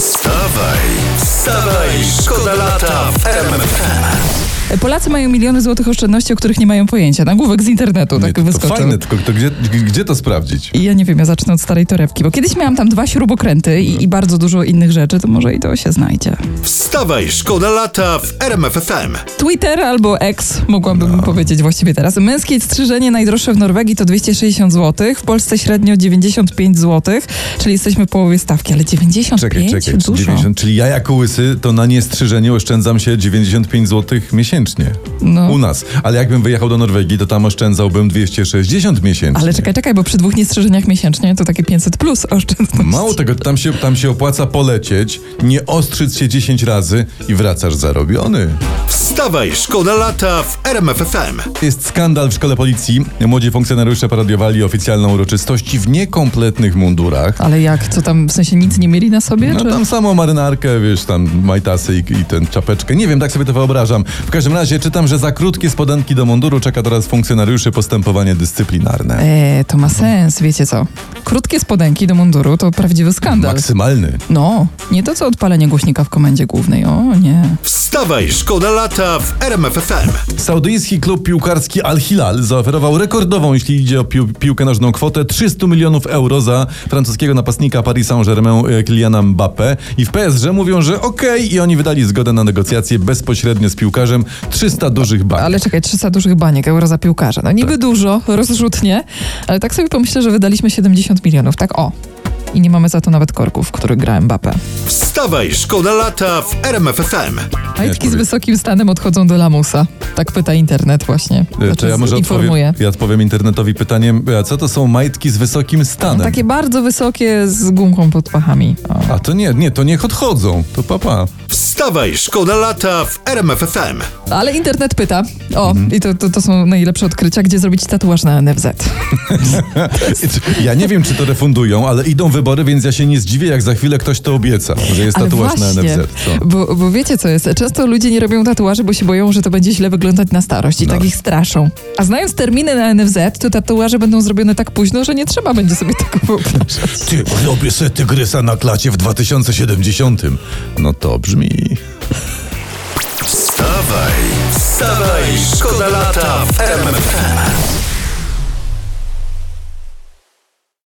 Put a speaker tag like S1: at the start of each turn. S1: Wstawaj, wstawaj, szkoda lata w RMFFM.
S2: Polacy mają miliony złotych oszczędności, o których nie mają pojęcia. Nagłówek z internetu, tak
S3: Nie, to, to
S2: wyskoczył.
S3: fajne, tylko to gdzie, gdzie to sprawdzić?
S2: I ja nie wiem, ja zacznę od starej torebki, bo kiedyś miałam tam dwa śrubokręty i, i bardzo dużo innych rzeczy, to może i to się znajdzie.
S1: Wstawaj, szkoda lata w RMFFM.
S2: Twitter albo X, mogłabym
S3: No.
S2: powiedzieć właściwie teraz. Męskie strzyżenie najdroższe w Norwegii to 260 zł, w Polsce średnio 95 zł, czyli jesteśmy w połowie stawki, ale 95
S3: Czekaj, czekaj,
S2: dużo.
S3: 90, czyli ja jako łysy to na niestrzyżenie oszczędzam się 95 zł miesięcznie.
S2: No.
S3: U nas. Ale jakbym wyjechał do Norwegii, to tam oszczędzałbym 260 miesięcznie.
S2: Ale czekaj, czekaj, bo przy dwóch niestrzyżeniach miesięcznie to takie 500 plus oszczędność.
S3: Mało tak- tego, tam się, tam się opłaca polecieć, nie ostrzyc się 10 razy i wracasz zarobiony.
S1: Wstawaj, szkoda lata w RMFFM.
S3: Jest skandal w szkole policji. Młodzi funkcjonariusze parodiowali oficjalną uroczystość w niekompletnych mundurach.
S2: Ale jak, co tam, w sensie nic nie mieli na sobie?
S3: No
S2: czy...
S3: tam samą marynarkę, wiesz, tam majtasy i, i ten czapeczkę. Nie wiem, tak sobie to wyobrażam. W każdym razie czytam, że za krótkie spodenki do munduru czeka teraz funkcjonariuszy postępowanie dyscyplinarne.
S2: Eee, to ma sens, wiecie co? Krótkie spodenki do munduru to prawdziwy skandal.
S3: Maksymalny.
S2: No, nie to co odpalenie głośnika w komendzie głównej, o nie.
S1: Wstawaj, szkoda lata w RMFFM.
S3: Saudyjski klub piłkarski Al-Hilal zaoferował rekordową, jeśli idzie o pił piłkę nożną, kwotę 300 milionów euro za francuskiego napastnika Paris Saint-Germain e, Kyliana Mbappé. I w PSG mówią, że okej i oni wydali zgodę na negocjacje bezpośrednio z piłkarzem 300 dużych bank.
S2: Ale czekaj, 300 dużych baniek, euro za piłkarza. No
S3: Tak.
S2: niby dużo, rozrzutnie, ale tak sobie pomyślę, że wydaliśmy 70 milionów, tak o. I nie mamy za to nawet korków, w których gra Mbappe.
S1: Wstawaj, szkoda lata w RMFFM.
S2: Majtki z
S3: powiedz.
S2: wysokim stanem odchodzą do lamusa. Tak pyta internet właśnie.
S3: E,
S2: Znaczy,
S3: To ja może odpowiem,
S2: informuje.
S3: ja odpowiem internetowi pytaniem, a co to są majtki z wysokim stanem?
S2: No, takie bardzo wysokie z gumką pod pachami. O.
S3: A to nie, nie, to niech odchodzą, to papa.
S1: Wstawaj, szkoda lata w RMFFM.
S2: Ale internet pyta. O,
S3: Mhm.
S2: i to, to, to są najlepsze odkrycia, gdzie zrobić tatuaż na NFZ.
S3: Ja nie wiem, czy to refundują, ale idą wybory, więc ja się nie zdziwię, jak za chwilę ktoś to obieca, że jest tatuaż na
S2: właśnie,
S3: NFZ. Co?
S2: Bo, bo wiecie co jest? Często ludzie nie robią tatuaży, bo się boją, że to będzie źle wyglądać na starość i
S3: No.
S2: tak ich straszą. A znając terminy na NFZ, to tatuaże będą zrobione tak późno, że nie trzeba będzie sobie tego wyobrażać.
S3: Ty, robię se tygrysa na klacie w 2070. No to brzmi...
S1: Wstawaj, wstawaj, szkoda lata w RMFFM.